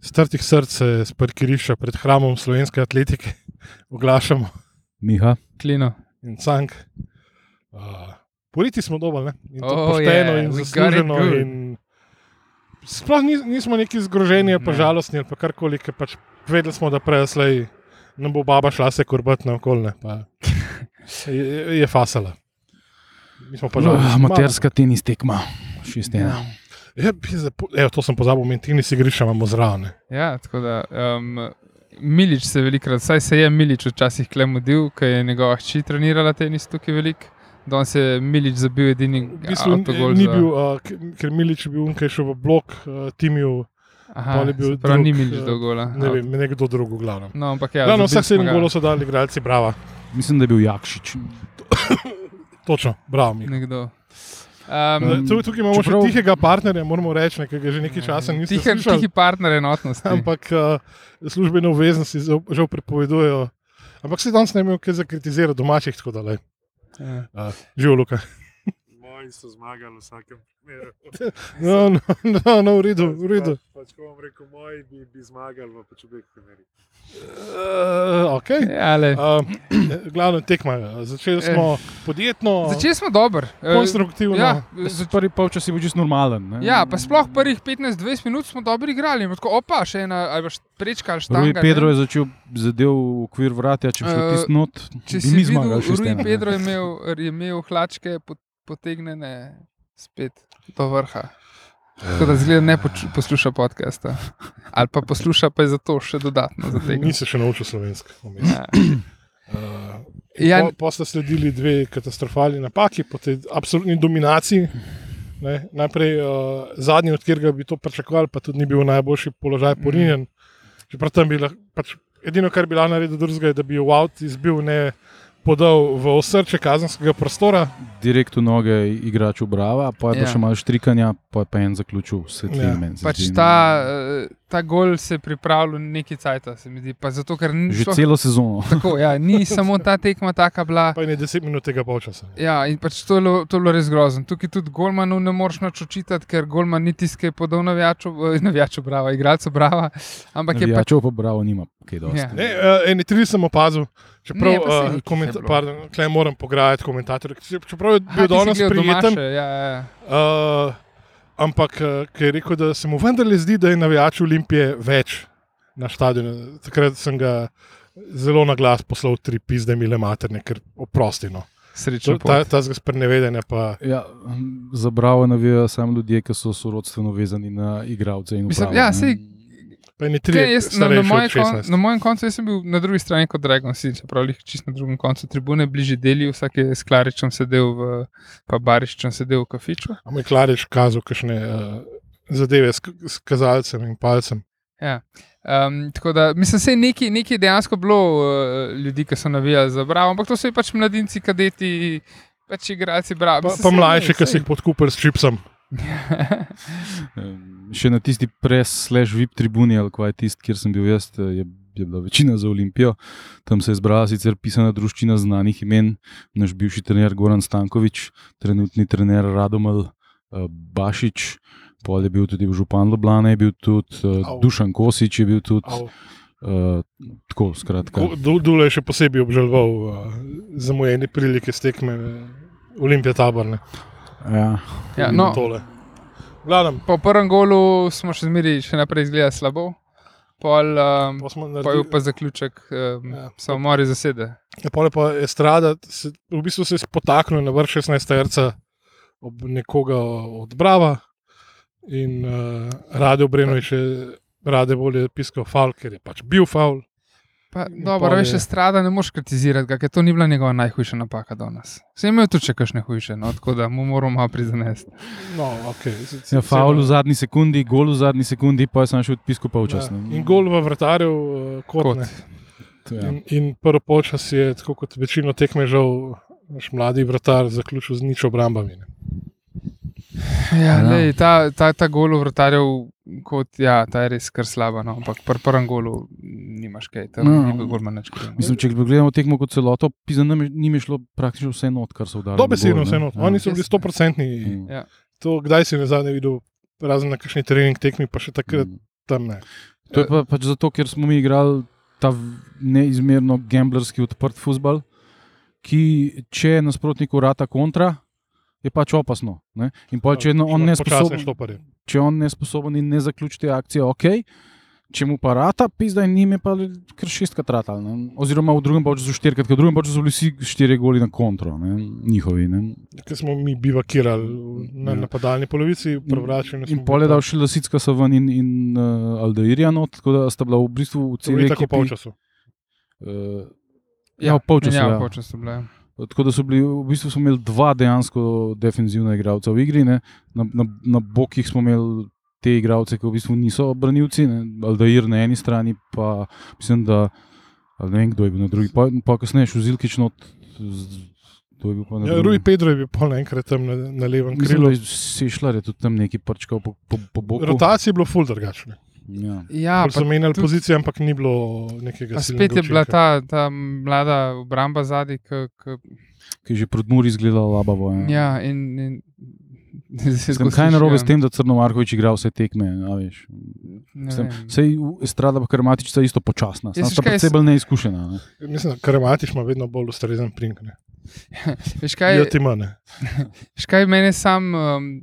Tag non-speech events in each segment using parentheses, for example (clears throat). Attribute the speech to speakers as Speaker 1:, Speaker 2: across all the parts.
Speaker 1: Strtih src se z parkirišča pred hramom slovenske atletike (laughs) oglašamo
Speaker 2: Miha,
Speaker 3: Klino.
Speaker 1: in cank. Uh, Politi smo dobili, ne? in to
Speaker 3: Oh,
Speaker 1: oh, pošteno
Speaker 3: yeah,
Speaker 1: yeah. in
Speaker 3: we got it
Speaker 1: zasluženo.
Speaker 3: good.
Speaker 1: In sploh ni, nismo neki zgroženi, pa
Speaker 3: Ne.
Speaker 1: žalostni ali pa karkoli, ker pač vedeli smo, da preslej nam bo baba šla se kurbat na okolje. Je, je fasala. Mi smo pa žalostni.
Speaker 2: amaterska Ah, tenis tekma, šest ena.
Speaker 1: Je, pizda, po- evo, to sem pozabil, mi ti nisi griš, imamo zraven.
Speaker 3: Ja, tako da. Um, Milič se velikrat, saj se je Milič včasih klemodil, ker je njegova hči trenirala tenis tukaj velik. Danes je Milič zabil edini
Speaker 1: V bistvu
Speaker 3: avtogol.
Speaker 1: ni
Speaker 3: Ja, za-
Speaker 1: bil, uh, ker Milič je bil unkaj šel v blok, uh, Timiju,
Speaker 3: Aha,
Speaker 1: pol je bil
Speaker 3: se pravi, ni
Speaker 1: drug,
Speaker 3: Milič
Speaker 1: eh,
Speaker 3: do gola.
Speaker 1: ne vem, nekdo drug, v glavnem.
Speaker 3: No, ampak ja.
Speaker 1: Ja, no,
Speaker 3: zabili
Speaker 1: vseh sedem
Speaker 3: smo ga.
Speaker 1: golov so dali igralci, bravo.
Speaker 2: Mislim, da je bil Jakšič.
Speaker 1: Točno, bravo. Mika.
Speaker 3: Nekdo.
Speaker 1: Zdaj,
Speaker 3: Um,
Speaker 1: Tu, tukaj imamo Čeprav...
Speaker 2: Čeprav-
Speaker 1: še tihega partnerja, moramo reči, ne, ki ga že nekaj časa nismo
Speaker 3: tihi,
Speaker 1: videli.
Speaker 3: tihi partner enotnosti.
Speaker 1: Ampak uh, službene obveznosti žal- žal prepovedujejo. Ampak se danes ne bi imel kaj za kritizirati domačih, tako da le.
Speaker 3: Ja.
Speaker 1: Uh, Živijo, Luka.
Speaker 4: Moji so zmagali v vsakem primeru.
Speaker 1: No, no, no, no, v redu, v redu.
Speaker 4: Pač, pač, ko vam rekel, moji bi, bi zmagali v pač obeh primerih.
Speaker 1: Uh, okay.
Speaker 3: Ja, le.
Speaker 1: Uh, (clears throat) glavno tekma. Začeli smo podjetno,
Speaker 3: Eh. Začeli smo dobro. Eh,
Speaker 1: no. konstruktivno.
Speaker 3: Ja,
Speaker 1: Ja.
Speaker 3: zač-
Speaker 2: Prvi polčas je bil čist normalen. Ne?
Speaker 3: ja, pa sploh prvih 15-20 minut smo dobro igrali. in Tako, opa, še ena ali pa št- prečka ali
Speaker 2: Rui
Speaker 3: štanga.
Speaker 2: Pedro je začel zadev v okvir vrata, če bi šel
Speaker 3: Eh,
Speaker 2: tisti not,
Speaker 3: Če
Speaker 2: bi
Speaker 3: si
Speaker 2: mi
Speaker 3: videl,
Speaker 2: zmagali. šest
Speaker 3: Rui
Speaker 2: ena, ne.
Speaker 3: Pedro je imel, je imel hlačke pot, potegnjene spet do vrha. Tako da zgleda ne poč, posluša podcasta. Ali pa posluša, pa je zato še dodatno zategnjen.
Speaker 1: Nisi še naučil slovensko. vmes.
Speaker 3: Ja.
Speaker 1: Uh, ja.
Speaker 3: Ja,
Speaker 1: po, po sta sledili dve katastrofalni napaki, po tej absolutni dominaciji. Ne, najprej uh, zadnji, od katerega bi to pričakovali, pa tudi ni bil v najboljši položaj porinjen. Čeprav tam bi lahko, pač edino, kar bi lahko naredil drugega, je, da bi jo avt izbil, ne podal v osrče kazenskega prostora.
Speaker 2: Direkt v noge igraču Brava, pa je ja.
Speaker 3: Ja.
Speaker 2: še malo štrikanja, pa je pa en zaključil svetlino.
Speaker 1: Ja.
Speaker 2: meni se
Speaker 3: pač
Speaker 2: zdi.
Speaker 3: ta, eh, ta gol se je pripravljal neki cajt, se mi zdi. Pa zato, ker ni
Speaker 2: Že
Speaker 3: sploh-
Speaker 2: celo sezono.
Speaker 3: Tako, ja, ni samo ta tekma taka bila.
Speaker 1: Pa je ne 10 minut tega polčasa.
Speaker 3: Ja, in pač to je bilo, to je bilo res grozno. Tukaj tudi Golmanu ne moreš nič očitati, ker Golman ni tisti, ki je podal navijaču, eh, navijaču brava, igralcu brava. Ampak
Speaker 2: (laughs)
Speaker 3: je pač
Speaker 2: Jačev Ja, pa Bravo nima kaj dosti.
Speaker 3: Ja.
Speaker 1: Ne, eh, ene tri sem opazil, čeprav
Speaker 3: Ne, pa saj
Speaker 1: eh,
Speaker 3: nič
Speaker 1: komenta-
Speaker 3: ni bilo.
Speaker 1: pardon, tule moram pograjati komentatorje. če- Čeprav je
Speaker 3: Aha,
Speaker 1: bil
Speaker 3: ti si
Speaker 1: danes
Speaker 3: gledal doma
Speaker 1: prijeten,
Speaker 3: še, Ja, ja.
Speaker 1: Uh, ampak eh, ker je rekel, da se mu vendarle zdi, da je navijač Olimpije več na stadionu. Takrat sem ga zelo na glas poslal tri pizde, mile materne, ker oprostino.
Speaker 3: Srečno.
Speaker 1: Ta, ta zgas prenevedanja pa.
Speaker 2: Ja, hm, za Bravo navijajo samo ljudje, ki so sorodstveno vezani na igralce in
Speaker 3: Mislim,
Speaker 2: upravo.
Speaker 3: ja,
Speaker 2: ne.
Speaker 3: sej,
Speaker 1: Pa ni
Speaker 3: kaj,
Speaker 1: tri,
Speaker 3: jaz, na, na, moje kon,
Speaker 1: koncu.
Speaker 3: na mojem koncu jaz sem bil na drugi strani kot Dragon City, čeprav jih čist na drugem koncu tribune, bližje deli, vsak je s Klaričem sedel, v, pa Bariščem sedel v kafiču.
Speaker 1: Ampak Klariš kazal kakšne uh, zadeve s, k- s kazalcem in palcem.
Speaker 3: Um, tako da, mislim, da je nekaj, nekaj dejansko bilo uh, ljudi, ki so navijali za bravo, ampak to so bili pač mladinci, kadeti, pač igrači bravo.
Speaker 1: Pa,
Speaker 3: Mislim,
Speaker 1: pa
Speaker 3: saj ne,
Speaker 1: mlajše, ki
Speaker 3: saj-
Speaker 1: si jih podkupili s čipsom.
Speaker 2: Em, Še na tisti pres, slash VIP tribuni, ali kaj je tisti, kjer sem bil jaz, eh, je, je bila večina za Olimpijo. Tam se je zbrala sicer pisana druščina znanih imen, naš bivši trener Goran Stankovič, trenutni trener Radomel eh, Bašič. Pol je bil tudi župan Ljubljana, je bil tudi uh,
Speaker 1: Au.
Speaker 2: Dušan Kosič, je bil tudi
Speaker 1: Au.
Speaker 2: uh, tako, skratka.
Speaker 1: Ko- Du- Dule je še posebej obžaloval uh, zamujene prilike s tekme uh, Olimpije taborne.
Speaker 2: Ja.
Speaker 3: Ja, no,
Speaker 1: tole. V glavnem,
Speaker 3: po prvem golu smo še zmeri še naprej izgledali slabo, pol, um,
Speaker 1: pa smo
Speaker 3: pa je
Speaker 1: naredili.
Speaker 3: pa zaključek, um,
Speaker 1: Ja.
Speaker 3: ja. samo mori zasede.
Speaker 1: Ja, pol je pa estrada, se, v bistvu se je spotaknil na vrh 16. erca ob nekoga od Brava in uh, Rade Obreno je še rade bolje piskal faul, ker je pač bil faul.
Speaker 3: Pa,
Speaker 1: In
Speaker 3: dobro,
Speaker 1: pol
Speaker 3: veš,
Speaker 1: je-
Speaker 3: strada ne moreš kritizirati, ga, ker to ni bila njegova najhujša napaka do nas. Sem imel tudi še kakšne hujše, no, tako da mu moramo malo priznati.
Speaker 1: No, okay, se,
Speaker 2: Ja, faul v zadnji sekundi, gol v zadnji sekundi, pa je sam še odpisal polčas. ne.
Speaker 1: Ja. In gol v vratarju, uh, kot,
Speaker 3: Kot.
Speaker 1: kot.
Speaker 2: To, ja.
Speaker 1: In, in prvi polčas je, tako kot večino tekmežev, naš mladi vratar zaključil z nič obrambami. Ne.
Speaker 3: (laughs) Ja,
Speaker 2: Ja.
Speaker 3: lej, ta, ta, ta gol vrtarjev, kot ja, ta je res kar slaba. No, ampak pri prvem golu nimaš kaj, tam
Speaker 2: No.
Speaker 3: no. ni bilo gor manj kaj.
Speaker 2: Mislim, če gledamo tekmo kot celoto, pizda nam je- njim je šlo praktično vse not, kar so udarili.
Speaker 1: Dobesedno no, vseeno, oni so bili
Speaker 3: Jaz-
Speaker 1: stoprocentni.
Speaker 2: Ja. Mm.
Speaker 1: To, kdaj si nazadnje videl, razen na kakšni trening tekmi, pa še takrat
Speaker 2: Mm.
Speaker 1: tam ne.
Speaker 2: To je pa, pač zato, ker smo mi igrali ta v- neizmerno gamblerski odprt futbal, ki če nasprotniku rata kontra, je pač opasno. Ne? In pa če je
Speaker 1: Ja,
Speaker 2: no- on nesposoben,
Speaker 1: šloparje.
Speaker 2: če je on nesposoben in ne zaključi te akcije, ok. Če mu pa rata, pizda in njim je pa kar šestkrat ratal. Ne? Oziroma v drugem času štirikrat, ker v drugem času so bili vsi štirje goli na kontro, ne? njihovi. Ne?
Speaker 1: Ki smo mi bivakirali na
Speaker 2: Ja.
Speaker 1: napadalni polovici, prevračali
Speaker 2: In pol je dal še lasicka sa ven in, in uh, Aldeirja not, tako da sta bila v bistvu v
Speaker 1: cel
Speaker 2: celi
Speaker 1: tako
Speaker 2: ekipi.
Speaker 1: pol časa.
Speaker 2: Uh, ja, v polčasu.
Speaker 3: Ja,
Speaker 2: Ja,
Speaker 3: v polčasu bila.
Speaker 2: Tako da so bili, v bistvu smo imeli dva dejansko defensivna igralca v igri. Ne? Na, na, na bokih smo imeli te igralce, ki v bistvu niso obranilci, ne? Aldair na eni strani, pa mislim, da ali ne vem, kdo je bil na drugi. Pa, pa kasneje še Zilkič not. z- kdo je bil pa na
Speaker 1: Ja,
Speaker 2: drugem?
Speaker 1: Rui Pedro je bil pol naenkrat tam na, na levem
Speaker 2: Mislim,
Speaker 1: krilu.
Speaker 2: da je Sešljar je tudi tam neki prčkal po, po, po boku.
Speaker 1: Rotacije je bilo ful drugačne.
Speaker 2: Ja.
Speaker 3: Ja,
Speaker 1: Bolj So
Speaker 3: pa,
Speaker 1: menjali
Speaker 3: tudi-
Speaker 1: pozicije, ampak ni bilo nekega
Speaker 3: pa
Speaker 1: silnega
Speaker 3: spet je bila
Speaker 1: učinka.
Speaker 3: ta, ta mlada obramba zadaj, ki
Speaker 2: Ki je že pred Muri izgledal labavo.
Speaker 3: Ja, in, in (laughs) zdaj
Speaker 2: Mislim, kaj je narobe s tem, da Crno Markovič igra vse tekme? a veš?
Speaker 3: ja,
Speaker 2: Mislim, Sej strada pa karamatičica je isto počasna,
Speaker 3: Jaz
Speaker 2: samo
Speaker 3: veš
Speaker 2: sta
Speaker 3: kaj,
Speaker 2: precej
Speaker 3: jaz-
Speaker 2: bolj neizkušena. Ne?
Speaker 1: Mislim, da Karamatiš ima vedno bolj ustrezen prink. ne.
Speaker 3: Veš kaj,
Speaker 1: Ja, ti mane.
Speaker 3: veš kaj mene sam, um,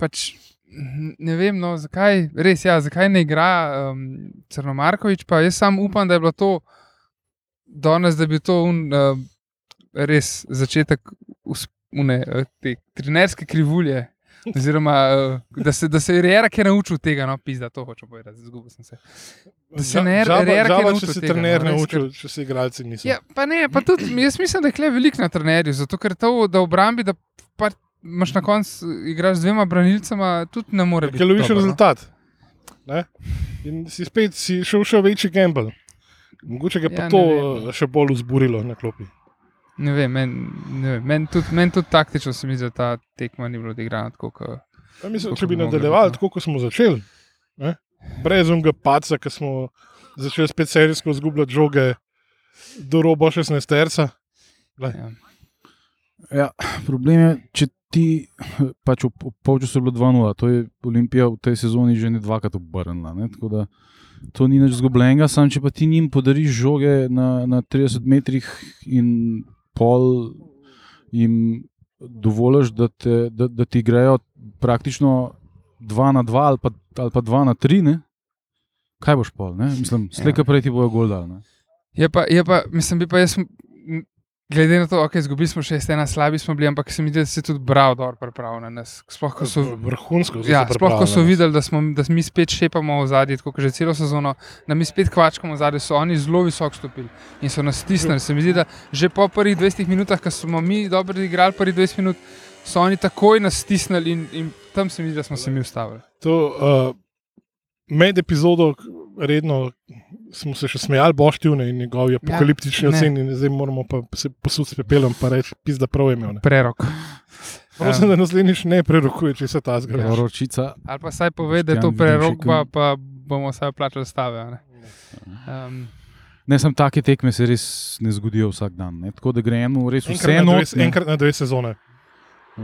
Speaker 3: pač n- ne vem, no, zakaj, res, ja, zakaj ne igra um, Crnomarkovič, pa jaz sam upam, da je bilo to danes, da bi to un, uh, res začetek us- une, uh, te trenerske krivulje. Oziroma, uh, da se, da se je Rejera ki je naučil tega, no, pizda, to hočem povedati, zgubil sem se. Da
Speaker 1: Ja,
Speaker 3: se ne- Rerke
Speaker 1: če
Speaker 3: naučil
Speaker 1: si
Speaker 3: tega,
Speaker 1: trener
Speaker 3: no, res,
Speaker 1: naučil, če si igralci niso.
Speaker 3: Ja, pa ne, pa tudi jaz mislim, da je kle velik na trenerju, zato ker to, da v obrambi, da pa imaš na koncu eh, igraš z dvema branilcema, tudi ne more biti.
Speaker 1: Ker loviš
Speaker 3: dobro, no.
Speaker 1: rezultat. Ne? In si spet si šel še večji gamble. Mogoče ga je pa
Speaker 3: Ja,
Speaker 1: to
Speaker 3: ne
Speaker 1: eh, še bolj vzburilo na klopi.
Speaker 3: Ne vem, meni men, men tudi men tud taktično se mi zdi, da ta tekma ni bila odigrana tako, kot
Speaker 1: Ja, mislim,
Speaker 3: Tako
Speaker 1: če bi
Speaker 3: bi mogli
Speaker 1: nadaljevali
Speaker 3: biti, no.
Speaker 1: tako, kot smo začeli, ne? brez unga paca, ki smo začeli spet serijsko izgubljati žoge do roba 16 terca.
Speaker 2: Ja, problem je, če ti (laughs) pač v v polčasu je bilo 2-0, to je Olimpija v tej sezoni že ne dvakrat obrnila. Ne? Tako da to ni nič zgubljenega, samo če pa ti njim podariš žoge na, na 30 metrih in pol jim dovoliš, da, te, da, da ti grejo praktično 2 na 2 ali pa, ali pa 2 na 3, ne? kaj boš pol, ne? mislim, slejka prej ti bojo gol dal. Ne?
Speaker 3: Je pa, je pa, mislim, bi pa jaz, m, glede na to, da okay, izgubili smo šest, ena slabi smo bili, ampak se mi zdi, da se je tudi bral dobro pripravljen na nas. Sploh, ko so,
Speaker 1: Vrhunsko. so
Speaker 3: ja,
Speaker 1: se
Speaker 3: sploh, ko so
Speaker 1: pripravljali.
Speaker 3: videli, da, smo, da mi spet šepamo v zadnji, tako kot že celo sezono, da mi spet kvačkamo v zadnji, so oni zelo visoko stopili in so nas stisnili. Se mi zdi, da že po prvih 20 minutah, ko smo mi dobro igrali, prvih 20 minut, so oni takoj nas stisnili in, in tam se mi zdi, da smo se mi ustavili.
Speaker 1: To, uh, med epizodo k- redno smo se še smejali, boštivne in njegovi apokaliptični ja,
Speaker 3: ne.
Speaker 1: oceni, in zdaj moramo pa se posuditi s pepelom in reči, pizda prav je imel. ne."
Speaker 3: Prerok.
Speaker 1: Prosim, da naslednjič ne prerokuje, če se ta
Speaker 2: Ja.
Speaker 1: zgodi.
Speaker 2: Vročica,
Speaker 3: Ali pa saj pove, da je to
Speaker 2: Boštjan
Speaker 3: prerok, pa,
Speaker 2: Videmšek.
Speaker 3: pa bomo saj plačali stave. a ne. Um,
Speaker 2: Ne, sem take tekme se res ne zgodijo vsak dan. Ne? Tako da gre eno res
Speaker 1: Enkrat,
Speaker 2: vseeno. Mm.
Speaker 1: na dve- enkrat na dve sezone,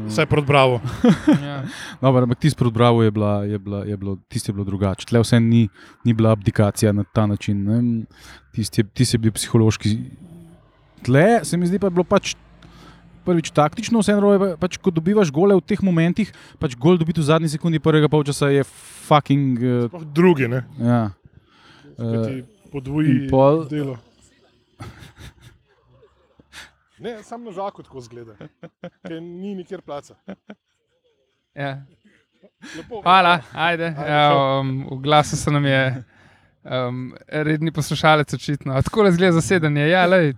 Speaker 1: vse proti Bravo.
Speaker 2: Eh,
Speaker 3: ja.
Speaker 2: Dobar, ampak tisti pred Bravo je, bila, je, bila, je bilo, tisti je bilo drugače. Tle vse ni, ni bila abdikacija na ta način. ne. Tisti je, tist je bil psihološki. Tle se mi zdi pa je bilo pač. Prvič taktično, vseeno je pa- pač, ko dobivaš gole v teh momentih, pač gol dobiti v zadnji sekundi prvega polčasa je fucking. eh,
Speaker 1: Sploh drugi, ne?
Speaker 2: Ja.
Speaker 1: Ko
Speaker 2: Eh,
Speaker 1: ti
Speaker 2: in
Speaker 1: podvoji
Speaker 2: pol- (laughs)
Speaker 1: delo. Ne, sam na žaku tako zgleda, ker ni nikjer placa.
Speaker 3: Ja.
Speaker 1: Lepo,
Speaker 3: Hvala, ajde.
Speaker 1: Ajde,
Speaker 3: Ja, um, v glasu se nam je um, redni poslušalec očitno. Tako le zgleda zasedanje. Ja, lej,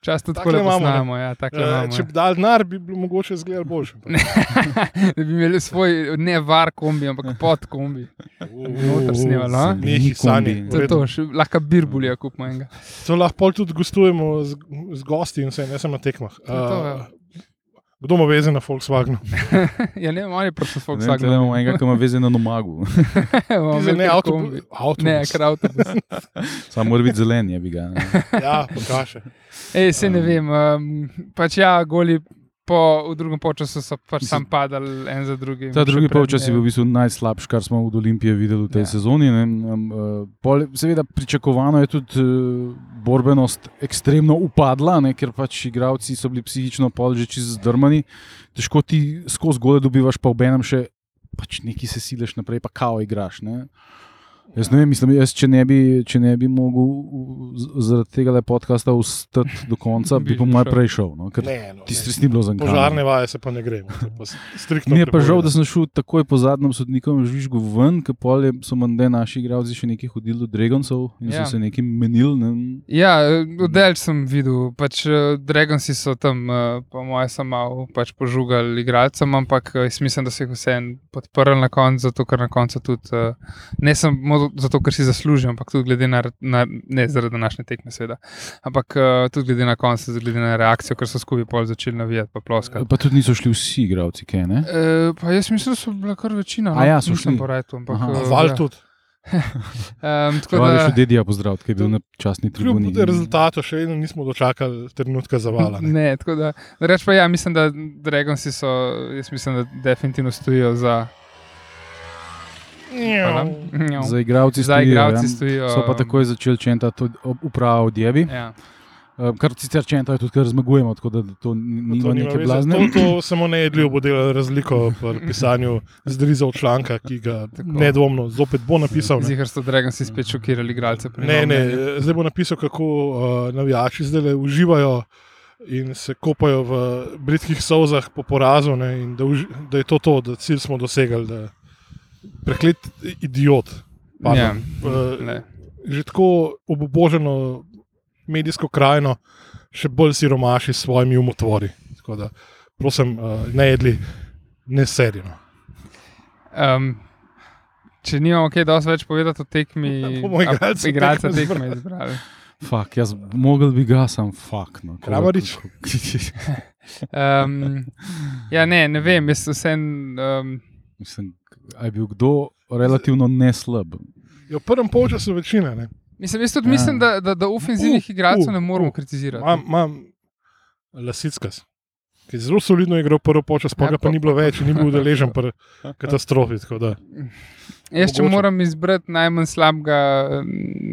Speaker 3: čas tudi tako
Speaker 1: Takle
Speaker 3: le
Speaker 1: imamo, ne?
Speaker 3: imamo. Ja, tako le imamo.
Speaker 1: Eh, Če bi dal denar, bi bilo mogoče zgledal boljše.
Speaker 3: ja. Da bi imeli svoj ne var kombi, ampak
Speaker 1: (laughs)
Speaker 3: pod kombi. noter snemali,
Speaker 1: Ja,
Speaker 2: Eh, se
Speaker 3: a?
Speaker 1: no, Nehi
Speaker 2: ni
Speaker 1: sani.
Speaker 2: kombi.
Speaker 1: v
Speaker 3: To je
Speaker 1: redu.
Speaker 3: to, še, lahko birbulja kupimo enega. (laughs)
Speaker 1: To lahko pol tudi gostujemo z, z gosti in vse, ne samo na tekmah.
Speaker 3: To je to,
Speaker 1: Eh,
Speaker 3: ja. kdo
Speaker 1: Kdo ima veze na Volkswagenu?
Speaker 3: Ja, ne, on je prosto svoj
Speaker 2: Ne, ja. tle
Speaker 3: (laughs)
Speaker 2: imamo enega, ki ima veze na nomagu. (laughs)
Speaker 1: Ti za Ne, avtobu- avtobus.
Speaker 3: Ne, ker avtobus.
Speaker 2: Samo mora biti zelen, je bi ga. ne.
Speaker 1: Ja, pokaže. (laughs)
Speaker 3: Ej, se ne vem. Um, pač ja, goli po, v drugem času so pač
Speaker 2: Mislim,
Speaker 3: sam padali en za drugim.
Speaker 2: Ta
Speaker 3: še
Speaker 2: drugi
Speaker 3: pred
Speaker 2: polčas je
Speaker 3: njim.
Speaker 2: bil v bistvu najslabši, kar smo od Olimpije videli v tej
Speaker 3: Ja.
Speaker 2: ja. sezoni. ne. Um, eh, pol- Seveda, pričakovano je tudi eh, borbenost ekstremno upadla, ne, ker pač igravci so bili psihično pol že čisto zdrmani. Težko ti skozi gole dobivaš, pa obenem še pač neki se sileš naprej, pa kao igraš. Ne. Jaz ne vem, mislim, jaz če ne bi, če ne bi mogel v- z- zaradi tega podcasta vstati do konca, bi
Speaker 3: Bi
Speaker 2: po
Speaker 3: že
Speaker 2: mojem
Speaker 3: šel.
Speaker 2: prej šel. No, ker
Speaker 1: Ne, no,
Speaker 2: tisti
Speaker 1: ne.
Speaker 2: res ni bilo za nič.
Speaker 1: Požarne vaje se pa ne gremo. to je pa s- striktno
Speaker 2: Mi je pa žal,
Speaker 1: prepovedano.
Speaker 2: da sem šel takoj po zadnjem sodnikovem žvižgu ven, ker pol je- so menda naši igralci še nekaj hodili do Dragoncov in
Speaker 3: Ja.
Speaker 2: so se nekaj menili. Ne.
Speaker 3: Ja, oddelek sem videl, pač eh, Dragonsi so tam, eh, po mojem, samo malo pač požugali igralcem, ampak eh, jaz mislim, da so jih vseeno podprli na koncu, zato ker na koncu tudi, eh, ne samo zato, ker si zaslužijo, ampak tudi glede na, na ne zaradi današnje tekme, seveda, ampak eh, tudi glede na koncu, glede na reakcijo, ker so skupaj pol začeli navijati, pa ploskati.
Speaker 2: Pa tudi niso šli vsi igralci, kaj ne?
Speaker 3: E, pa jaz mislim, da so bila kar večina.
Speaker 2: A ja, so šli.
Speaker 3: Nisem po rajtu, ampak.
Speaker 2: Aha.
Speaker 1: A
Speaker 3: eh,
Speaker 1: Val
Speaker 3: ja.
Speaker 1: tudi.
Speaker 3: Em, tako
Speaker 2: Hvala, da
Speaker 3: da-
Speaker 2: še Dedija pozdravil, ki je bil na časni tribuni.
Speaker 1: Kljub rezultatu še vedno nismo dočakali trenutka zavala. Ne.
Speaker 3: Ne, tako da. da Reč pa ja, mislim, da Dragonsi so, jaz mislim, da definitivno stojijo za. Hvala. Njo.
Speaker 2: Za igralci
Speaker 3: Za igralci
Speaker 2: stojijo.
Speaker 3: stojijo.
Speaker 2: ja. So pa takoj začeli čenta tudi upravo odjebi,
Speaker 3: Ja.
Speaker 2: kar sicer čenta je tudi, ker zmagujemo, tako da to ni- nima neke blazne.
Speaker 1: To, to samo nejedljivo bo delalo razliko pri pisanju zdrizov članka, ki ga nedvomno zopet bo napisal. Ne,
Speaker 3: Zihar so Dragonsi spet šokirali igralce. pri
Speaker 1: ne,
Speaker 3: novem
Speaker 1: ne eh,
Speaker 3: mnenju.
Speaker 1: zdaj bo napisal, kako uh, navijači zdaj le uživajo in se kopajo v britkih sozah po porazu, ne, in da, uži, da je to to, da cilj smo dosegali. Da, preklet idiot. Pardon,
Speaker 3: Ja,
Speaker 1: uh,
Speaker 3: ne.
Speaker 1: že tako obuboženo medijsko krajino, še bolj siromaši s svojimi umotvori. Tako da, prosim, eh, ne jedli, ne serijno.
Speaker 3: Um, če nimamo kaj dosti več povedati o tekmi,
Speaker 1: (laughs) Bomo
Speaker 3: a,
Speaker 1: igralce
Speaker 3: igralca
Speaker 1: tekme
Speaker 3: tekme izbrali.
Speaker 2: Fak, jaz mogel bi ga, sam fak. No, Ko-
Speaker 1: Kramarič?
Speaker 3: Um, ja, ne, ne vem, jaz vsem. Um,
Speaker 2: (laughs) Mislim, a je bil kdo relativno neslab?
Speaker 1: Je Ja, v prvem polčasu večina. ne.
Speaker 3: Mislim, jaz tudi
Speaker 2: Ja.
Speaker 3: mislim, da, da, da ofenzivnih
Speaker 1: U,
Speaker 3: igralcev
Speaker 1: u,
Speaker 3: ne moremo
Speaker 1: u.
Speaker 3: kritizirati.
Speaker 1: Imam- Imam lasickas, ki je zelo solidno igral prvo polčas, pa
Speaker 3: Ja,
Speaker 1: ga pa
Speaker 3: pa-
Speaker 1: ni bilo več in ni bil
Speaker 3: (laughs)
Speaker 1: udeležen pri katastrofi. tako da.
Speaker 3: Jaz, če
Speaker 1: Mogoče.
Speaker 3: moram izbrati najmanj slabega, eh,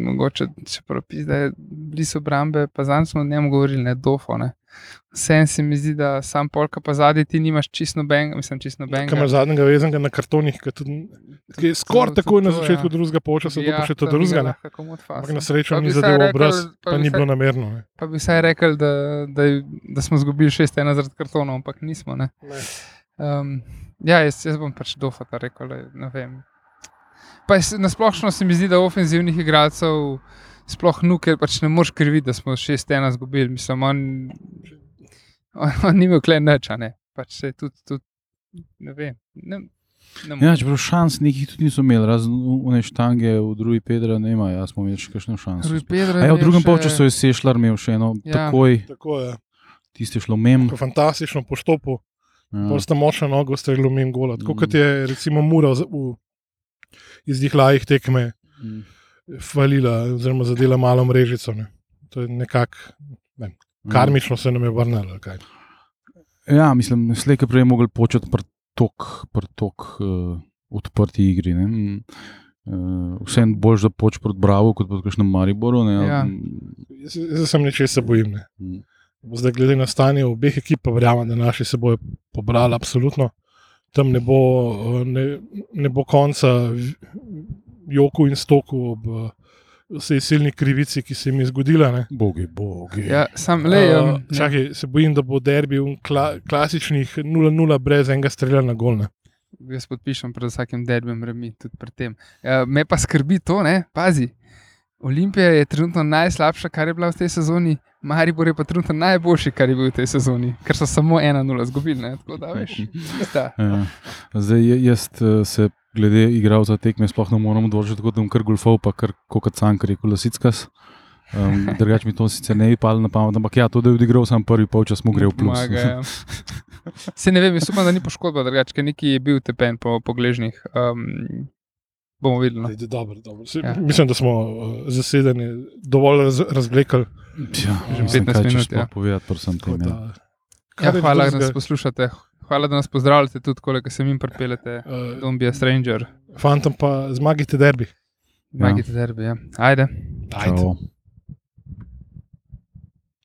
Speaker 3: mogoče če propiš, da je blizu obrambe, pa zanj smo o njem govorili, ne dofo. Ne. Vsem se mi zdi, da sam polka pa zadnji ti nimaš čisto nobenega, mislim, čisto
Speaker 1: Kaj ima
Speaker 3: nobenega.
Speaker 1: zadnjega vezenega na kartonih, ki tudi- ki je skoraj
Speaker 3: to-
Speaker 1: takoj na
Speaker 3: to, ja.
Speaker 1: začetku drugega polčasa, da pa še to
Speaker 3: tam bi ga
Speaker 1: drugega. ne.
Speaker 3: lahko komot
Speaker 1: Ampak
Speaker 3: fasal.
Speaker 1: na srečo
Speaker 3: Pa
Speaker 1: ni
Speaker 3: bi vsaj
Speaker 1: zadeval
Speaker 3: rekel-
Speaker 1: obraz,
Speaker 3: pa
Speaker 1: pa
Speaker 3: bi
Speaker 1: ni
Speaker 3: vsaj-
Speaker 1: bilo namerno. ne.
Speaker 3: Pa bi vsaj rekel, da, da, je- da smo izgubili 6-1 zaradi kartonov, ampak nismo. Ne. Um, ja, jaz, jaz bom pač dofata rekel, le, ne vem. Pa jaz, nasplošno se mi zdi, da ofenzivnih igralcev sploh nu, ker pač ne moreš kriviti, da smo 6-1 izgubili. Mislim, on, on, on ni bil klen nič, a ne. Pač se je tudi, tudi, ne vem. Ne, ne
Speaker 2: Ja, čeprav šans nekih tudi niso imeli, razen une štange v drugi Pedra, ne ima, jaz smo imeli še kakšno šanso.
Speaker 3: Rui
Speaker 2: A
Speaker 3: Pedro je
Speaker 2: ja, v
Speaker 3: imel
Speaker 2: drugem
Speaker 3: še-
Speaker 2: polčasu je Sešlar imel še eno,
Speaker 3: Ja.
Speaker 2: ja. takoj
Speaker 1: Tako je.
Speaker 2: tisti je šlo mem.
Speaker 1: Po fantastičnem postopu
Speaker 2: Ja.
Speaker 3: Mm.
Speaker 1: Bolj ste močno nogo streljali mimo gola. Tako
Speaker 2: Mm.
Speaker 1: kot je recimo Mura z- v izdihljajih tekme
Speaker 2: Mm.
Speaker 1: falila, oziroma zadela malo mrežico. Ne. To je nekako ne, Mm. karmično se nam je vrnilo. ali kaj.
Speaker 2: Ja, mislim, slejka prej je mogel početi prtok, prtok uh, odprti igri. Ne? Uh, Vseeno boljš, da poč proti Bravo kot proti kakšnem Mariboru. Ne?
Speaker 3: Ja.
Speaker 1: Jaz, jaz sem nečesa bojim. Ne.
Speaker 2: Mm.
Speaker 1: Zdaj, glede na stanje obeh ekip, pa verjamem, da naši se bojo pobrali, absolutno. Tam ne bo, eh, ne, ne bo konca v- joku in stoku ob eh, vsej silni krivici, ki se jim je zgodila. Ne.
Speaker 2: Bogi, bogi.
Speaker 3: Ja, sam le.
Speaker 2: Eh,
Speaker 3: Um,
Speaker 1: Uh, čakaj, se bojim, da bo derbi un kla, klasičnih 0-0 brez enega strela na gol.
Speaker 2: Ja.
Speaker 1: ne.
Speaker 3: Jaz podpišem pred vsakim derbem, remi tudi pred tem. Uh, me pa skrbi to, ne, pazi. Olimpija je trenutno najslabša, kar je bila v tej sezoni, Maribor je pa trenutno najboljši, kar je bil v tej sezoni, ker so samo 1-0 izgubili. ne, Tako da
Speaker 2: (laughs)
Speaker 3: veš, da.
Speaker 2: Ja. Zdaj, je- jaz eh, se glede igralca tekme sploh ne morem odločiti, tako da bom kar gulfov, pa kar kot cankar je kolosickas.
Speaker 3: (laughs)
Speaker 2: Um, Drugač mi to sicer ne bi padlo na pamet, ampak ja, to, da je odigral sam prvi polčas, mu gre v plus.
Speaker 3: Pomaga, ja. Se ja. ne vem, jaz upam, da ni poškodba, drugače, ker neki je bil tepen po, po gležnjih. Um, bomo videli. no.
Speaker 1: Ajde, dobro, dobro. Se,
Speaker 3: Ja.
Speaker 1: ja. Mislim, da smo uh, zasedanje dovolj raz, razvlekli.
Speaker 2: Ja, mislim,
Speaker 3: 15
Speaker 2: kaj
Speaker 3: minut,
Speaker 2: češ
Speaker 3: ja.
Speaker 2: sploh povedati, prosim,
Speaker 1: tako
Speaker 2: tem. Ja.
Speaker 1: da-
Speaker 3: Ja,
Speaker 1: je
Speaker 3: hvala, da
Speaker 1: drugega?
Speaker 3: nas poslušate. Hvala, da nas pozdravljate tudi, koliko se mi pripeljete.
Speaker 1: Eh,
Speaker 3: Don't be a stranger.
Speaker 1: Fantom pa zmagite derbi.
Speaker 3: Magite derbi, ja. Ajde.
Speaker 2: Čau.